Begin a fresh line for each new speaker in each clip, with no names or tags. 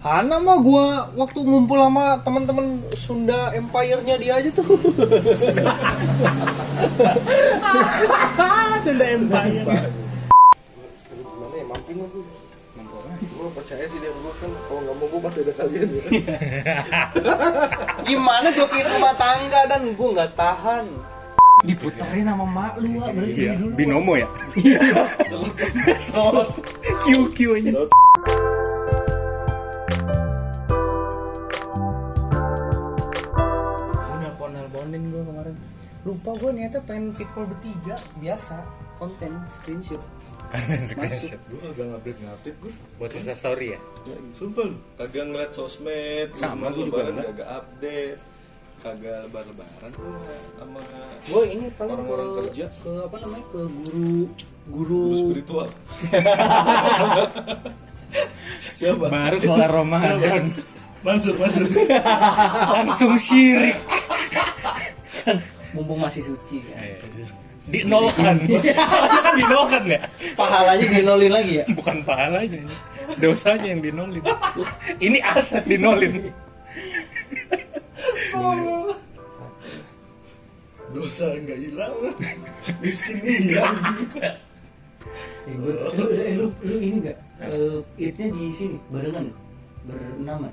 Hana mah gua waktu ngumpul sama teman-teman Sunda Empire-nya dia aja tuh.
Sunda Empire.
gimana ya mamping lah tuh gue percaya sih dia gue kan kalau nggak mau gue pasti ada kalian ya
Gimana joki rumah tangga dan gua nggak tahan. Diputerin sama mak lu ah, berarti
Iya,
dari dulu.
binomo ya. Slot. Q Q aja.
Gua nelpon-nelponin gua kemarin. Lupa gua niatnya pengen fit call bertiga biasa konten screenshot.
Screenshot.
gue agak ngupdate ngupdate gue
Buat Insta story ya.
sumpah lu kagak ngeliat sosmed
Sama,
lu
gua juga
lebaran
enggak.
kagak update kagak lebar lebaran gue sama
Gue ini paling ke,
Orang-orang kerja.
ke apa namanya ke guru guru,
guru spiritual siapa
Baru kelar Ramadan
Mansur Mansur
langsung syirik.
mumpung masih suci kan.
Eh. Di nolkan. kan di nolkan ya.
Pahalanya dinolin lagi ya.
Bukan pahalanya ini. Dosanya yang dinolin. Ini aset dinolin.
dosa nggak hilang iya. miskinnya hilang juga
Eh, gua- lu, eh, lu, lu ini enggak? Eh, itnya di sini barengan ya? berenam ya?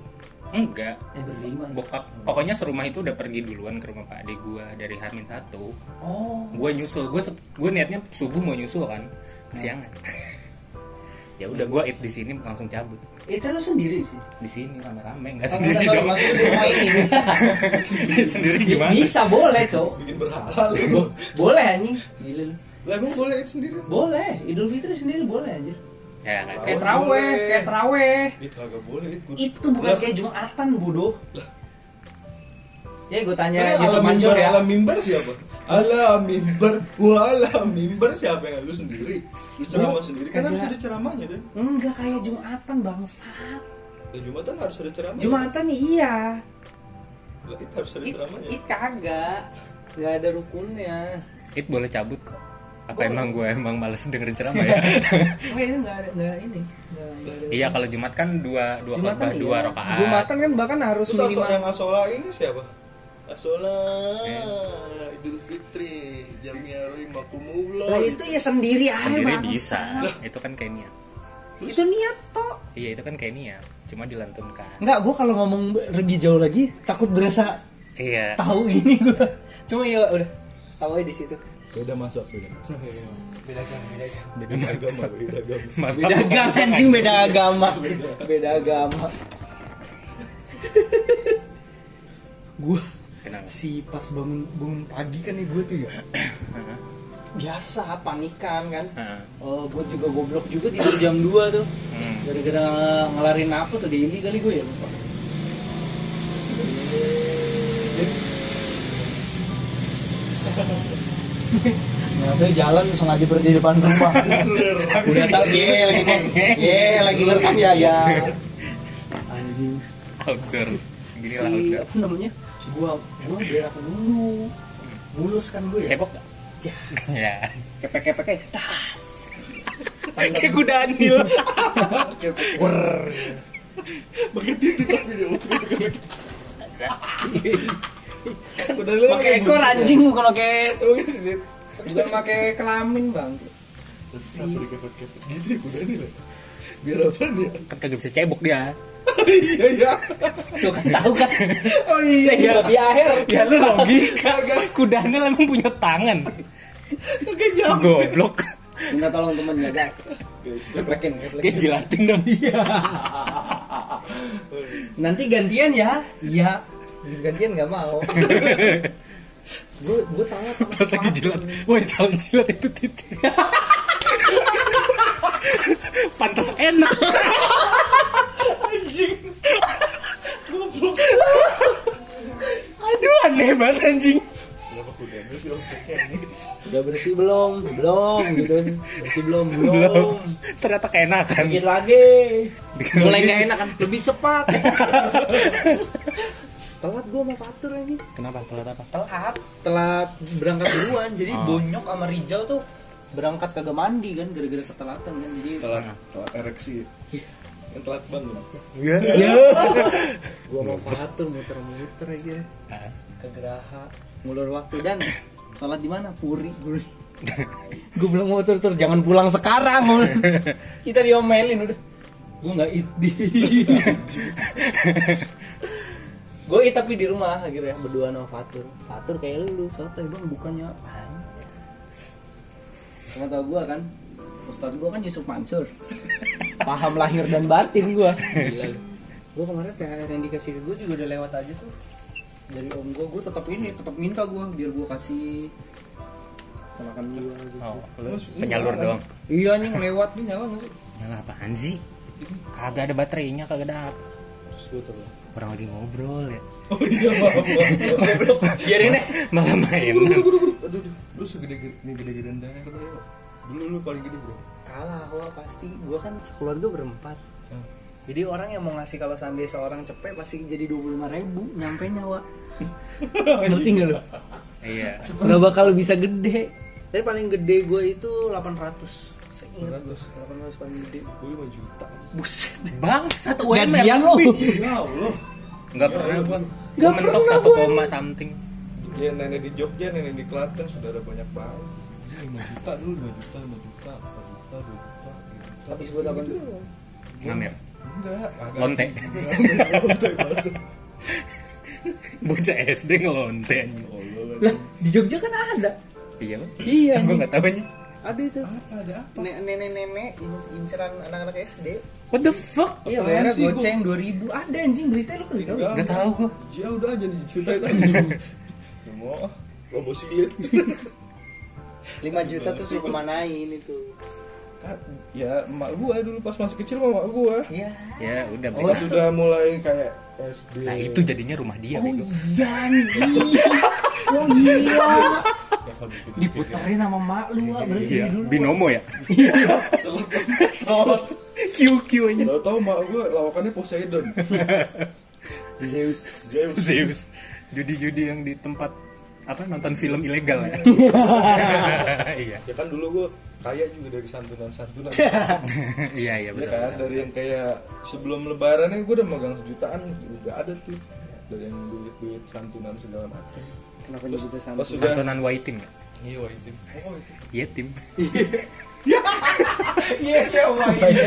Enggak.
eh berlima. ya?
Bokap, pokoknya serumah itu udah pergi duluan ke rumah Pak Ade gua dari Hamin 1.
Oh,
gue nyusul gue gue niatnya subuh mau nyusul kan kesiangan ya udah gue eat di sini langsung cabut
itu lu sendiri sih.
di sini rame-rame
Oh,
nggak Eh, sendiri
enggak, sorry,
dong
maksudnya di rumah ini.
sendiri gimana
Bisa boleh, Cok.
bikin berhala lu
Boleh anjing. Gila lu.
lah emang boleh itu sendiri
Boleh, Idul Fitri sendiri boleh anjir.
ya kan
Kayak
Boleh.
traweh, kayak traweh.
It kagak boleh it gua-
Itu bukan
Lah,
kayak Jumatan, bodoh. Ya gue tanya
Ini
Yusuf
ala
Mansur
mimbar,
ya.
ala mimbar siapa? Ala mimbar, wah ala mimbar siapa yang lu sendiri? Lu ceramah
Bu,
sendiri kan
kagak.
harus ada ceramahnya dan
Enggak kayak Jumatan bangsat.
ya, Jumatan harus ada ceramah.
Jumatan iya.
Lah, itu harus ada
It,
ceramahnya.
it kagak. Enggak ada rukunnya.
eat boleh cabut kok apa emang gue emang males dengerin ceramah ya
Oke, itu enggak ada enggak ini. Enggak enggak ada.
iya kalau jumat kan dua dua
Jumatan
khotbah
iya.
dua rakaat
Jumatan kan bahkan harus
Terus aso
minimal.
yang asola ini siapa? Asola Idul Fitri Jamiari Makumullah.
Lah itu ya sendiri aja
sendiri
bangsat.
bisa itu kan kayak niat
Itu niat toh.
iya itu kan kayak niat cuma dilantunkan
Enggak, gue kalau ngomong lebih jauh lagi takut berasa
iya
tahu ini gue. Cuma ya udah tahu aja di situ.
Beda masuk beda. masuk.
Beda agama, beda agama.
beda
Beda agama, beda agama.
Mantap.
Beda agama anjing beda agama. Beda agama. gue
Kenapa?
si pas bangun bangun pagi kan nih gue tuh ya
Heeh.
biasa panikan kan
Heeh.
oh gue juga goblok juga tidur jam 2 tuh
Hmm.
gara-gara ngelarin apa tuh di Indi kali gue ya lupa Nah, tuh jalan sengaja berhenti di depan rumah. Udah tau ye lagi ye lagi ngerekam ya ya. Anjing.
outdoor gini
Si
lah outdoor
apa namanya? Gua gua berak dulu. Mulus kan gue ya.
cebok gak?
Ya.
ya
Kepek-kepek kayak tas.
kayak kuda anil
Pakai titik tapi dia mau Udah
Pakai ekor anjing bukan pakai bukan pakai kelamin, Bang.
Si kepet-kepet gitu ya kuda ini lah. Biar apa nih?
kan kagak bisa cebok dia
Iya iya.
Tuh kan tahu kan. Oh iya iya. Di akhir.
ya lu logika kuda anil emang punya tangan
Pakai jam.
goblok
Minta tolong temennya, guys. Kepekin,
dia
kepekin.
jilatin dong
Nanti gantian ya. Iya. Gantian nggak mau. gue gue tanya sama
pas lagi jilat woi salam jilat itu titik pantas enak aduh aneh banget anjing
Kenapa kuda ini sih objeknya ini?
udah bersih belum belum gitu bersih belum belum
belum ternyata keenakan
dikit lagi
Dikit
mulai
lagi.
nggak enak kan lebih cepat telat gue mau fatur ini
kenapa telat apa
telat telat berangkat duluan jadi
Ah.
bonyok sama Rijal tuh berangkat kagak mandi kan gara-gara ketelatan kan jadi
Telat, telat ereksi. yang telat ya? bangun
Iya.
gua mau fatur muter-muter ya kira
Ah,
ke Geraha ngulur waktu dan sholat di mana puri gue gue bilang mau tur tur jangan pulang sekarang gua bilang. kita diomelin udah gue nggak it di gue it tapi di rumah akhirnya berdua sama Fatur Fatur kayak lu soto bang bukannya apaan cuma tau gue kan Ustadz gue kan Yusuf Mansur paham lahir dan batin gue gila lu gue kemarin THR yang dikasih ke gue juga udah lewat aja tuh dari om gue gue tetap ini tetap minta gue biar gue kasih ke makan gue gitu.
Oh, lu penyalur doang.
iya nih lewat
ini nyala nggak sih
Nyala apaan sih? Kagak ada baterainya, kagak ada apa.
terus gue tuh
Orang lagi ngobrol ya.
oh iya maaf maaf
Biarin ya. Malah mainan.
aduh aduh. lu segede gede gede gede daerah ya dulu lu paling gede bro
kalah gue pasti gue kan keluarga berempat jadi orang yang mau ngasih kalau sambil seorang cepet pasti jadi dua puluh lima ribu nyampe nyawa ngerti nggak lo
Iya.
nggak bakal bisa gede tapi paling gede gue itu 800 seingat gue 800 paling gede
gue lima juta
buset
Bangsat UMR.
gajian lo
ya Allah
Enggak pernah gua.
Nggak
Gua mentok
pernah
satu
gua.
koma something.
ya nenek di Jogja nenek di Klaten saudara banyak banget Dia lima juta dulu dua juta lima juta empat juta dua juta tiga juta
habis gue dapat tuh
Ngamer.
enggak agak-
Lonte.
Enggak, lonte banget
Bocah SD ngelonte anjing.
Allah
lah di Jogja kan ada
Iya, Bang.
iya
Gua enggak tahu anjing.
ada itu
apa ada apa
nenek-nenek in- inceran anak-anak SD
What the fuck?
iya
Apaan
bayarnya
sih gua?
goceng 2000 ada anjing berita lu kali tau
Enggak.
Enggak tahu gua.
ya udah aja diceritain aja Nggak mau ah. Nggak mau silit
5 juta terus lu kemanain itu
Kak, ya emak gua dulu pas masih kecil sama emak gua
iya
Ya udah
Pas
bisa.
sudah mulai kayak SD
Nah, itu jadinya rumah dia,
oh
Bego.
iya anjing oh iya
Ya, kalau dipikir-
diputerin sama mak lu ah berarti
Iya,
dari dulu
binomo ya. Slot. QQ aja.
Lo tau mak gue lawakannya Poseidon
Zeus
Zeus
Zeus. Judi-judi yang di tempat apa nonton film ilegal ya. Iya.
Ya kan dulu gue kaya juga dari santunan-santunan
Iya, iya
Ya
betul.
kan dari yang kayak sebelum lebarannya gue udah megang sejutaan Udah ada tuh Dari yang duit-duit santunan segala macam
kenapa nyebutnya sama
Pas sudah
Santunan Waitim ya.
Iya wah itu Oh itu
Iya, tim.
iya iya wah iya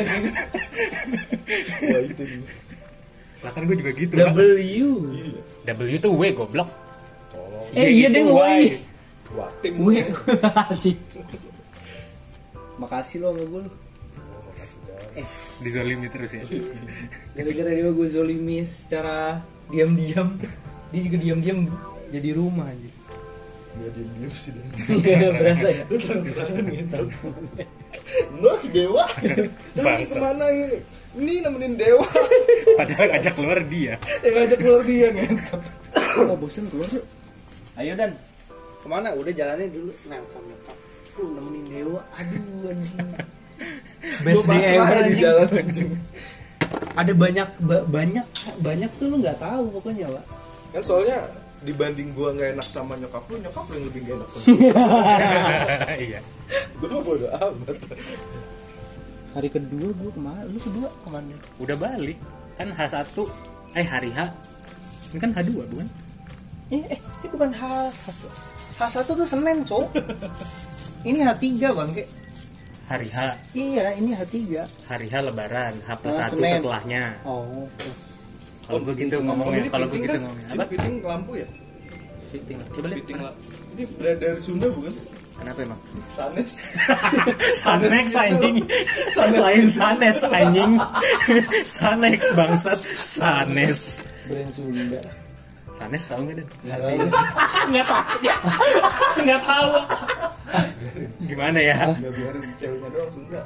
Wah itu
Lah kan gue juga gitu, Pak.
W
Iya
W tuh W goblok.
Tolong
eh iya
itu
deh
Y.
wah
Wah tim
W makasih lo sama gue lu
Oh, makasih, guys.
es
Dizolimi terus ya.
gara-gara dia gue zolimi secara diam-diam dia juga diam-diam jadi rumah aja
Nggak diem-diem sih dan
berasa ya
Terang-terangan gitu Nah si Dewa Dari
Bangsat.
kemana ini Ini nemenin Dewa
Padahal ngajak keluar dia.
Yang ngajak keluar dia ngentot
mau bosen keluar yuk ayo dan kemana udah jalannya dulu nelfon nyokap lu nemenin dewa aduh anjing best
Gua
day
pasrah
ever
di
anjing.
jalan anjing
ada banyak ba- banyak banyak tuh lu nggak tahu pokoknya pak
kan soalnya dibanding gua nggak enak sama nyokap lu nyokap lu yang lebih nggak enak sama gua.
Iya.
gua mah bodo amat
hari kedua gue kemana lu kedua kemana
Udah balik. Kan H1 eh hari H. Ini kan H2 bukan?
ini eh ini bukan H1 H1 tuh Senin cok ini H3 bangke
Hari H.
iya ini H3
Hari H lebaran, H plus
Ah,
1
Senin.
setelahnya.
oh terus
Kalau
Oh,
gue gitu ngomongnya, kalau gue gitu ngomongnya.
apa
Apa?
kan piting lampu ya
Fitting. Coba lihat.
piting lampu ini dari, dari Sunda bukan
Kenapa emang?
sanes
Sanex anjing. Lain gitu. Sanes gitu. anjing. Sanex bangsat. Sanes.
brand Sunda
Sanes tahu enggak, Dan?
Ya.
Nggak tahu.
Enggak tahu ya. Enggak tahu. Gimana ya?
nggak biarin ceweknya doang Sunda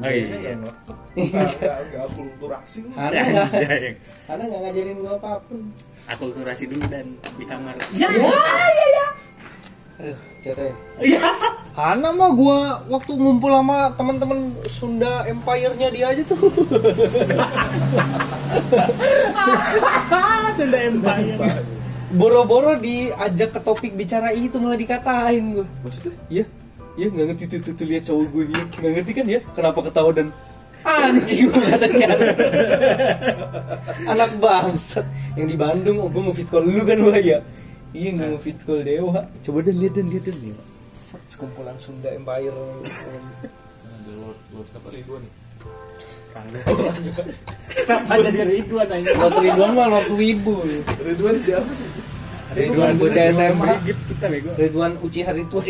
Oh iya.
Budayanya nggak melekat. nggak nggak kultur asing lah.
Ya,
Karena nggak
Anjing.
karena nggak ngajarin gue apapun.
Akulturasi dulu dan di kamar. Ya.
Aduh, cerai.
Ya.
Hana mah gue waktu ngumpul sama teman-teman Sunda Empire-nya dia aja tuh.
Sunda Empire.
Boro-boro diajak ke topik bicara itu malah dikatain gue. Maksudnya? Iya. Iya nggak ngerti tuh tuh, tuh lihat cowok gue iya. nggak ngerti kan ya kenapa ketawa dan Anjing gue katanya. Anak bangsat yang di Bandung, oh, gue mau fit call lu kan wah ya. Iya gue mau fit call Dewa. Coba dan lihat dan lihat dan Dewa. Set, sekumpulan Sunda Empire. eh,
Ada Lord, Lord siapa Ridwan nih?
Kenapa jadi Ridwan aja?
Lord Ridwan mah Lord Wibu.
Ridwan siapa sih?
Ridwan bocah SMA.
Brigit kita bego.
Ridwan Uchiha Ridwan.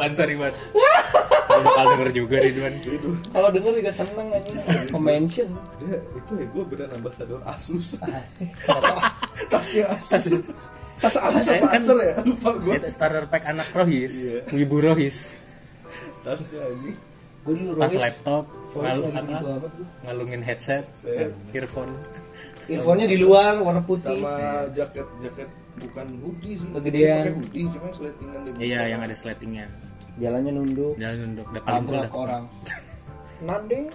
Wan sorry Wan. Gua bakal denger juga Ridwan.
Kalau denger juga seneng aja. Mention.
Dia itu ya gue beneran ambassador Asus.
Tasnya Asus.
Tas
Tas
aset.
Acer ya?
Kan
Lupa gue.
Itu starter pack anak Rohis,
Iya.
Wibu Rohis,
Tasnya ini.
Gue dulu
tas
Royce.
laptop,
Royce
ngalu-
lagi
apa,
gitu amat gue.
ngalungin headset,
Saya
earphone.
Earphone-nya di luar warna putih.
Sama jaket jaket bukan hoodie sih.
Kegedean.
Pakai hoodie cuma yang seletingan di
Iya, yang ada slatingnya.
Jalannya nunduk.
Jalan nunduk, udah paling cool
Tabrak
dah.
orang. Nanding.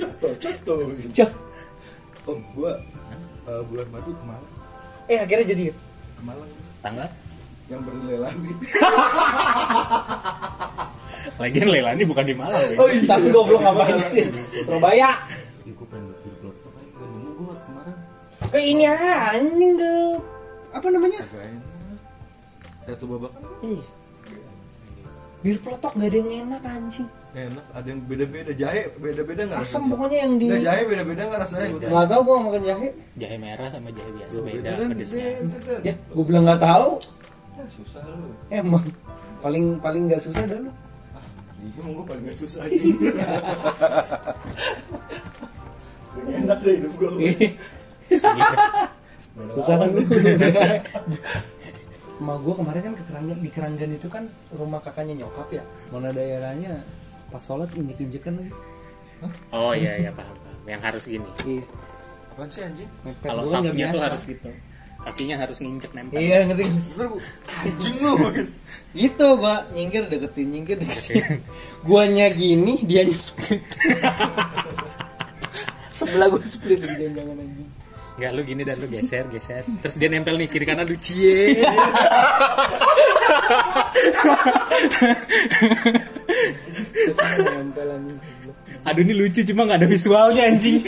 contoh contoh.
Cah.
Om gue eh, bulan madu ke Malang,
Eh akhirnya jadi.
ke Malang
Tanggal?
yang bernilai lagi.
Lagian Leilani bukan di Malang,
Oh,
Bang.
iya.
Tapi goblok ngapain sih? Surabaya.
Ih gue pengen beli laptop aja gue nemu gue kemarin.
Ke ini ah, anjing deh. Apa namanya?
Kagak enak. Satu babak
Ih. Bir plotok gak ada yang enak anjing.
enak ada yang beda-beda jahe beda-beda
Asam
nggak rasanya?
pokoknya yang di
Nggak, jahe beda-beda nggak rasanya gue
Gak tau gue makan jahe
Jahe merah sama jahe biasa
Tuh,
beda
kan,
pedesnya.
beda,
Ya
kan.
gue bilang gak tahu
Ya, susah lu
Emang Paling paling gak susah dah lu
Gue gue paling gak susah aja Gak enak deh hidup gue
Iya. Susah kan lu Emak gue kemarin kan ke Keranggan, di Keranggan itu kan rumah kakaknya nyokap ya Mana daerahnya pas sholat injek-injekan kan. lagi
Oh iya iya paham paham. Yang harus gini.
Iya
Apaan sih anjing?
mepet
Kalau
doang nggak
safnya tuh
biasa.
harus gitu. Kakinya harus nginjek nempel.
Iya ngerti
Ntar gua, anjing lu
Gitu gua nyingkir deketin nyingkir deketin Guanya gini dianya split Sebelah gua split lagi jangan-jangan anjing
Enggak lu gini dan lu geser, geser. Terus dia nempel nih kiri kanan lu cie.
Cetan nempel anjing goblok.
Aduh ini lucu cuma nggak ada visualnya anjing.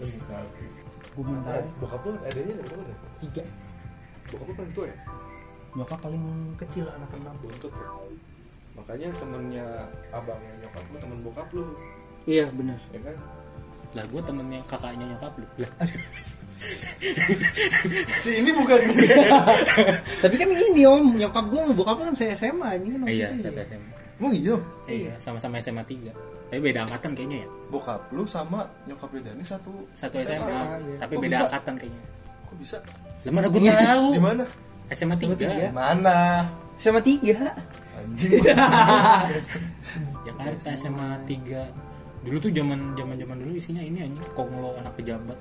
Gua minta
Eh, Bokap lu adanya dari mana?
tiga
Bokap lu paling tua ya?
Nyokap paling kecil anak enam
Buntut ya? Makanya temennya abangnya nyokap lu temen bokap lu
Iya benar
Ya kan?
lah gua temennya kakaknya nyokap lu. Lah,
Si ini bukan
Tapi kan ini om, nyokap gue mau bokap lu kan saya SMA anjing kan
iya,
waktu itu
satu
ya.
SMA.
Emang iya?
Iya, sama-sama SMA 3. Tapi beda angkatan kayaknya ya.
Bokap lu sama nyokapnya Dani satu
Satu SMA,
iya.
tapi
Kok
beda
bisa? Iya.
angkatan kayaknya.
Kok bisa?
Lah mana gua tahu?
Di mana?
SMA
SMA
3.
ya? Mana? Iya.
Sama tiga
Anjing
Jakarta SMA 3 dulu tuh zaman zaman zaman dulu isinya ini anjing konglo anak pejabat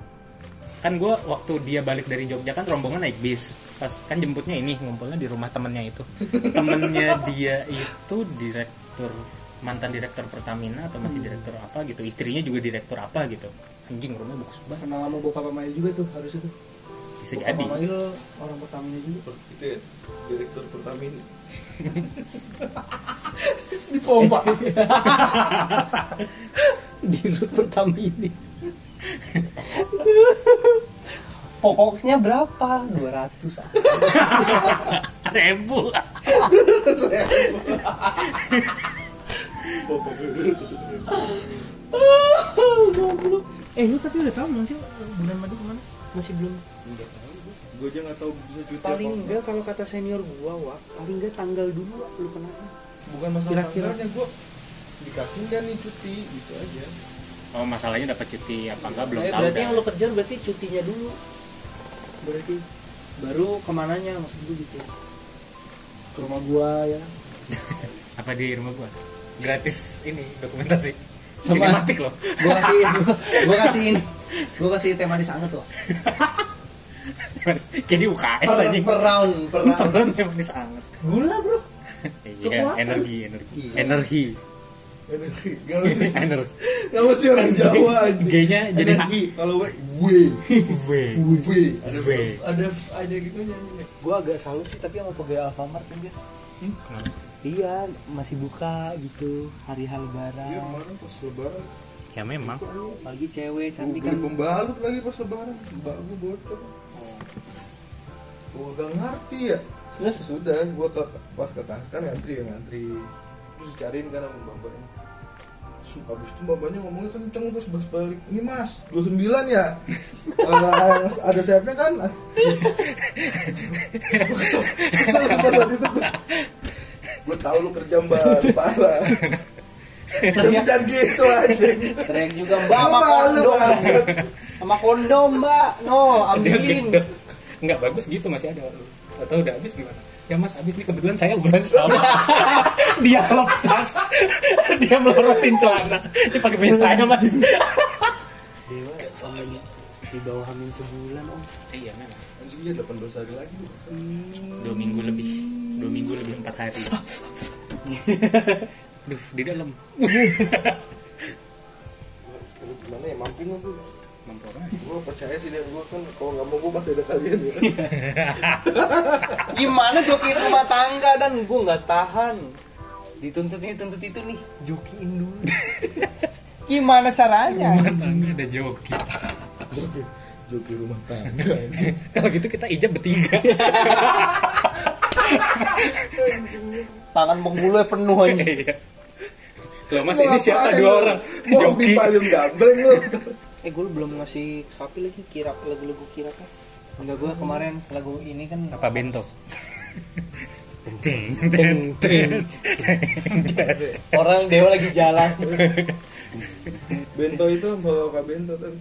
kan gue waktu dia balik dari Jogja kan rombongan naik bis pas kan jemputnya ini ngumpulnya di rumah temennya itu temennya dia itu direktur mantan direktur Pertamina atau masih direktur apa gitu istrinya juga direktur apa gitu anjing rumahnya bagus banget
Kenal sama bokap sama Il juga tuh harus itu
bisa
Bokap
jadi
sama Il orang pertamanya juga
Itu ya, direktur Pertamina
Di pompa Di rut pertama ini Pokoknya berapa? 200 ah.
rebu
Bokap lu
Goblok. Eh lu tapi udah tau belum sih bulan madu kemana? Masih belum
Gue aja gak tau bisa cuti
paling
apa
enggak kalau kata senior gua wak paling enggak tanggal dulu Wak, lu kena
Bukan masalah
Kira-kira.
tanggalnya gue Dikasih gak nih cuti Gitu aja
oh masalahnya dapat cuti apa enggak belum
Eh,
tahu
berarti
dah.
yang lu kejar berarti cutinya dulu berarti baru kemananya maksud gua gitu ke rumah gua ya
apa di rumah gua gratis ini dokumentasi
Sama-
sinematik loh
gua kasih gua, gua kasih ini gua kasih teh manis anget tuh
Jadi UKS
per,
aja
per round per round
Perut yang manis anget
gula bro
Iya,
Kekuatan.
energi, energi
Iya.
Energi
energi gak mesti
Energi.
gak mesti orang Jawa anjing
G-nya jadi H.
energi
Kalau gue
W
W.
W
W.
ada F aja gitu nyanyi.
Gue agak salut sih tapi sama pegawai Alfamart anjir.
Kenapa?
Iya, masih buka gitu hari hal
iya
lebaran.
kemarin pas lebaran
Ya memang.
Apalagi cewek
Gua
cantik
beli
kan.
pembalut lagi pas lebaran mbak gue bocor gue gak ngerti ya
Terus
sudah gue ke pas ke kas kan ngantri ya ngantri terus dicariin kan sama bapaknya Terus abis itu bapaknya ngomongnya kenceng terus bas balik ini mas 29 ya Eh, ada sayapnya kan Kesel- kesel sih pas saat itu gue tahu lu kerja mbak parah tapi jangan gitu aja
teriak juga mbak sama kondom sama kondom mbak no ambilin
gitu.
Enggak bagus gitu masih ada. Atau udah habis gimana? Ya Mas, habis nih kebetulan saya ukuran sama. Dia lepas. Dia melorotin celana. Dia pakai punya saya, Mas.
dewa di, di bawah hamin sebulan om
Iya, memang.
Habis itu ya 18 hari lagi Mas.
Dua minggu lebih. Dua minggu lebih empat hari. Duh, di dalam.
Aduh, gimana ya mampin lah tuh
Mampu
gue percaya sih dia gue kan kalau nggak mau gue masih ada kalian ya
gimana jokiin rumah tangga dan gue nggak tahan dituntut ini tuntut itu nih jokiin dulu gimana caranya
Rumah tangga ada joki.
joki joki rumah tangga
Kalau gitu kita ijab bertiga.
tangan menggulai penuh aja
Iya. Loh Mas, ini siapa dua orang?
joki
Joki.
paling gambreng lu
eh gue belum ngasih sapi lagi kirap lagu-lagu kirap enggak gue kemarin setelah gue ini kan
Apa bento? Ting, ting, ting.
orang dewa lagi jalan
bento itu bawa ke bento kan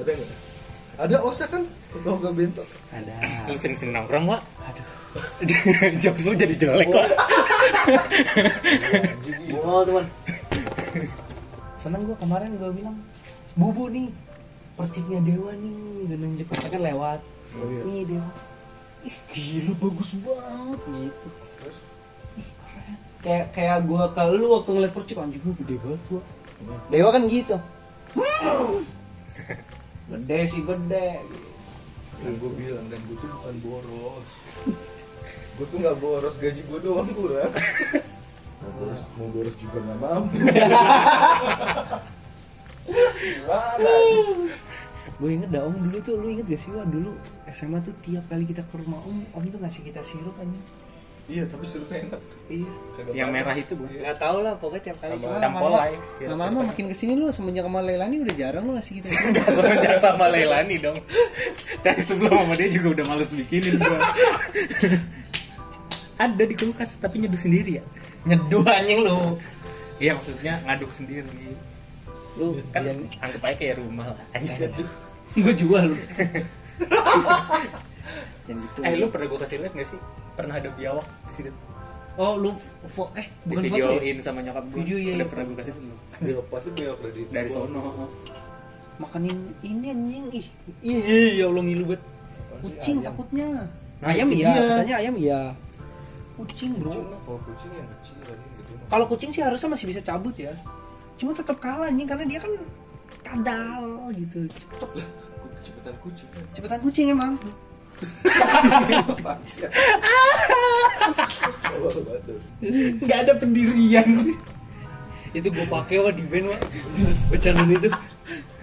ada nggak ada osa kan bawa ke bento
ada
Lu sering-sering nongkrong, Wak? Aduh. Jokes lu jadi jelek, Wak.
Wow teman. Seneng gue kemarin gue bilang, bubu nih, perciknya dewa nih, dan nunjuk kita kan lewat.
Oh, iya.
Nih dewa. Ih gila bagus banget gitu.
terus
Ih keren. Kayak kayak gue ke lu waktu ngeliat percik anjing gue gede banget gue. Dewa kan gitu. Hmm. Gede sih gede.
nah, gue bilang dan gue tuh bukan boros gue tuh nggak boros gaji gue doang kurang mau boros mau boros juga nggak mampu gimana
Gue inget dah om dulu tuh, lu inget gak sih Wak, dulu SMA tuh tiap kali kita ke rumah om, om tuh ngasih kita sirup anjing.
iya tapi serunya enak
Iya.
Kagak
Yang
panas.
merah itu, Bu.
Gak tau lah pokoknya tiap kali
Sama
cuma
Campolai.
lama-lama- Lama-lama makin kesini lu semenjak sama Leilani udah jarang lu ngasih gitu. kita
Semenjak sama Leilani dong. Dari sebelum sama dia juga udah males bikinin gua. Ada di kulkas tapi nyeduh sendiri ya.
Nyeduh anjing lu
Iya maksudnya ngaduk sendiri.
Lu
Kan
kan
anggap aja kayak rumah lah. Anjir.
Gue jual lu Jangan gitu
Eh lu pernah gue kasih liat gak sih? Pernah ada biawak di situ?
Oh lu fo- Eh
Di
bukan foto ya?
videoin sama nyokap gue.
Video, iya,
Udah
iya.
pernah gue kasih liat belum?
Dia pasti banyak dari
Dari sono.
Makanin ini anjing Ih Ih ya Allah ngilu banget Kucing takutnya
Nah,
Ayam
itu
iya
dia.
Katanya ayam iya Kucing bro
Kucing lah, kalau kucing yang kecil tadi gitu.
Kalau kucing sih harusnya masih bisa cabut ya Cuma tetap kalah anjing karena dia kan kadal gitu cepet
Kecepetan kucing kan.
cepetan kucing emang
Kalau batu.
Gak ada pendirian.
itu gue pakai wah di band wah bercandaan itu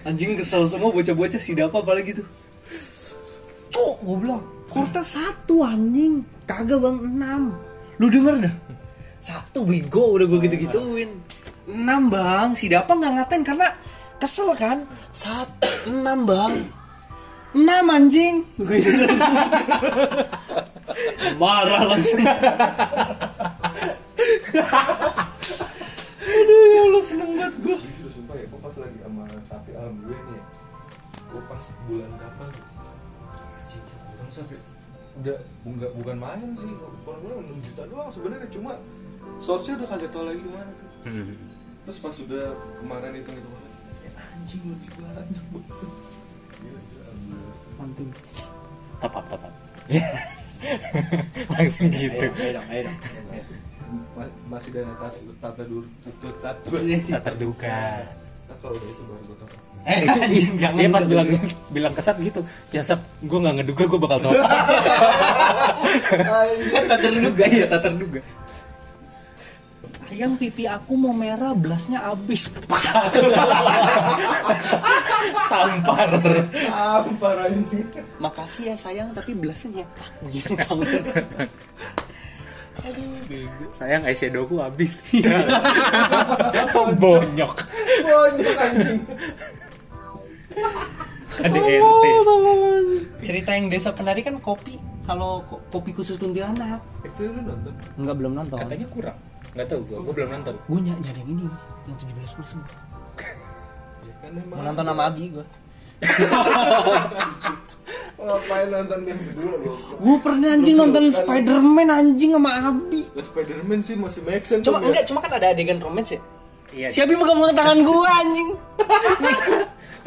anjing kesel semua bocah-bocah si dapa apalagi tuh cuk gue bilang kurta satu anjing kagak bang enam lu denger dah satu bego udah gue gitu-gituin enam bang si dapa nggak ngatain karena kesel kan satu enam bang enam anjing Gua gitu langsung. marah langsung aduh ya Allah seneng banget gue
Jujur sumpah ya, gue pas lagi sama tapi alhamdulillah nih. Gue pas bulan kapan? Anjing, orang sampai udah enggak bukan main sih. Kurang kurang 6 juta doang sebenarnya cuma source-nya udah kagak tahu lagi mana tuh.
Hmm.
Terus pas udah kemarin itu itu anjing lebih banyak bos. Gila, gila, alhamdulillah.
mantul
Top up, top up. Langsung gitu.
ayo dong ayo dong
ma- masih dana tata tata dur tutut tata
tak terduga
Ntar kalau udah itu baru gue tau
Eh,
itu
anjing,
dia
jangan
iya, dia pas
gitu.
bilang bilang kesat gitu ya sap gue nggak ngeduga gue bakal tahu kan tak terduga
iya,
ya tak terduga
Ayang pipi aku mau merah, belasnya abis.
tampar
apa anjing
Makasih ya sayang, tapi belasnya nyetak gitu tangan.
sayang eyeshadowku habis bonyok
Wajib anjing
KDRT
Cerita yang desa penari kan kopi. Kalau ko- kopi khusus kuntilanak.
Itu lu nonton?
Enggak belum nonton.
katanya kurang nggak tahu gue gue belum nonton
gue ny nyari yang ini yang 17 plus semua.
Ya kan emang
Mau nonton sama Abi gue.
Oh, Ngapain nonton yang kedua lu?
Gue pernah anjing nonton Spider-Man anjing sama Abi.
Lah Spiderman sih masih make sense
Cuma
Om, ya?
enggak, cuma kan ada adegan romance ya.
iya
Si Abi megang-megang tangan gue anjing.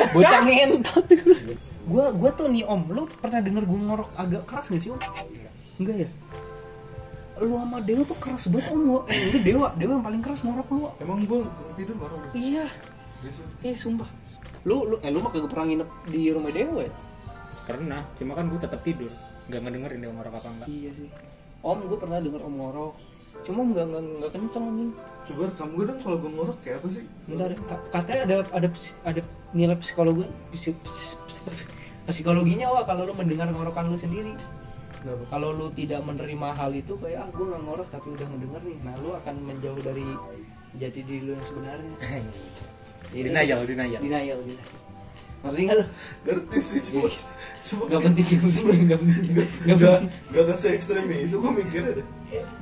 Bocah ngentot. Gue gue tuh nih Om, lu pernah denger gue ngorok agak keras gak sih Om? Enggak ya? Lu sama Dewa tuh keras banget Om. Lu lu Dewa, Dewa yang paling keras ngorok lu.
Emang gue tidur orang lu
Iya. Eh sumpah. Lu lu eh lu mah kagak pernah nginep di rumah Dewa ya?
pernah cuma kan gue tetap tidur nggak ngedengerin dia ngorok apa enggak
Iya sih. Om, gue pernah denger om ngorok. Cuma nggak nggak nggak kenceng nih.
Coba rekam gue dong kalau gue ngorok kayak apa sih?
Bentar, ka- katanya ada ada psi- ada nilai psikologi psi- psi- psi- psikologinya wah kalau lu mendengar ngorokan lu sendiri. Kalau lu tidak menerima hal itu kayak ah gue nggak ngorok tapi udah ngedenger nih. Nah lu akan menjauh dari jati diri lu yang sebenarnya.
Iya.
Itu-
Denial, denial.
Iya, Denial, denial. Ngerti nggak lu?
Ngerti sih cuma Cuma
Gak Iya. penting, gitu. gak penting, gak penting. Gak
Gak,
penting.
gak kasih ekstrem ya, itu gue mikirnya deh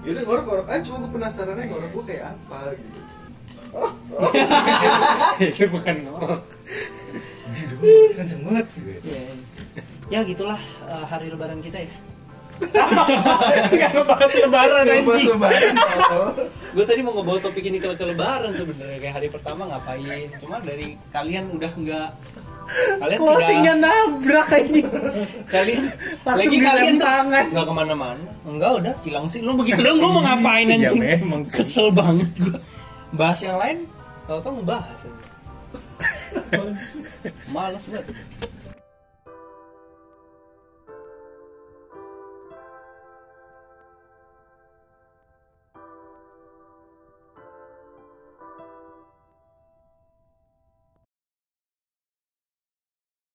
Yaudah ngorok-ngorok aja, cuma gue penasarannya ngorok gue kayak apa gitu
itu bukan ngorok
Jadi gue
kan
kenceng banget gitu ya
Ya, ya gitulah eh, hari lebaran kita ya.
nggak ngebahas lebaran anjing
gue tadi mau ngebawa topik ini ke, ke lebaran sebenarnya kayak hari pertama ngapain cuma dari kalian udah nggak kalian
closingnya
tidak-
nabrak anjing
kalian
Langsung
lagi
dilem
kalian tuh
tangan.
nggak kemana-mana enggak udah cilang sih lu begitu dong gue mau ngapain
Iya,
anjing
memang sih.
kesel banget gue bahas yang lain tau-tau ngebahas aja. males banget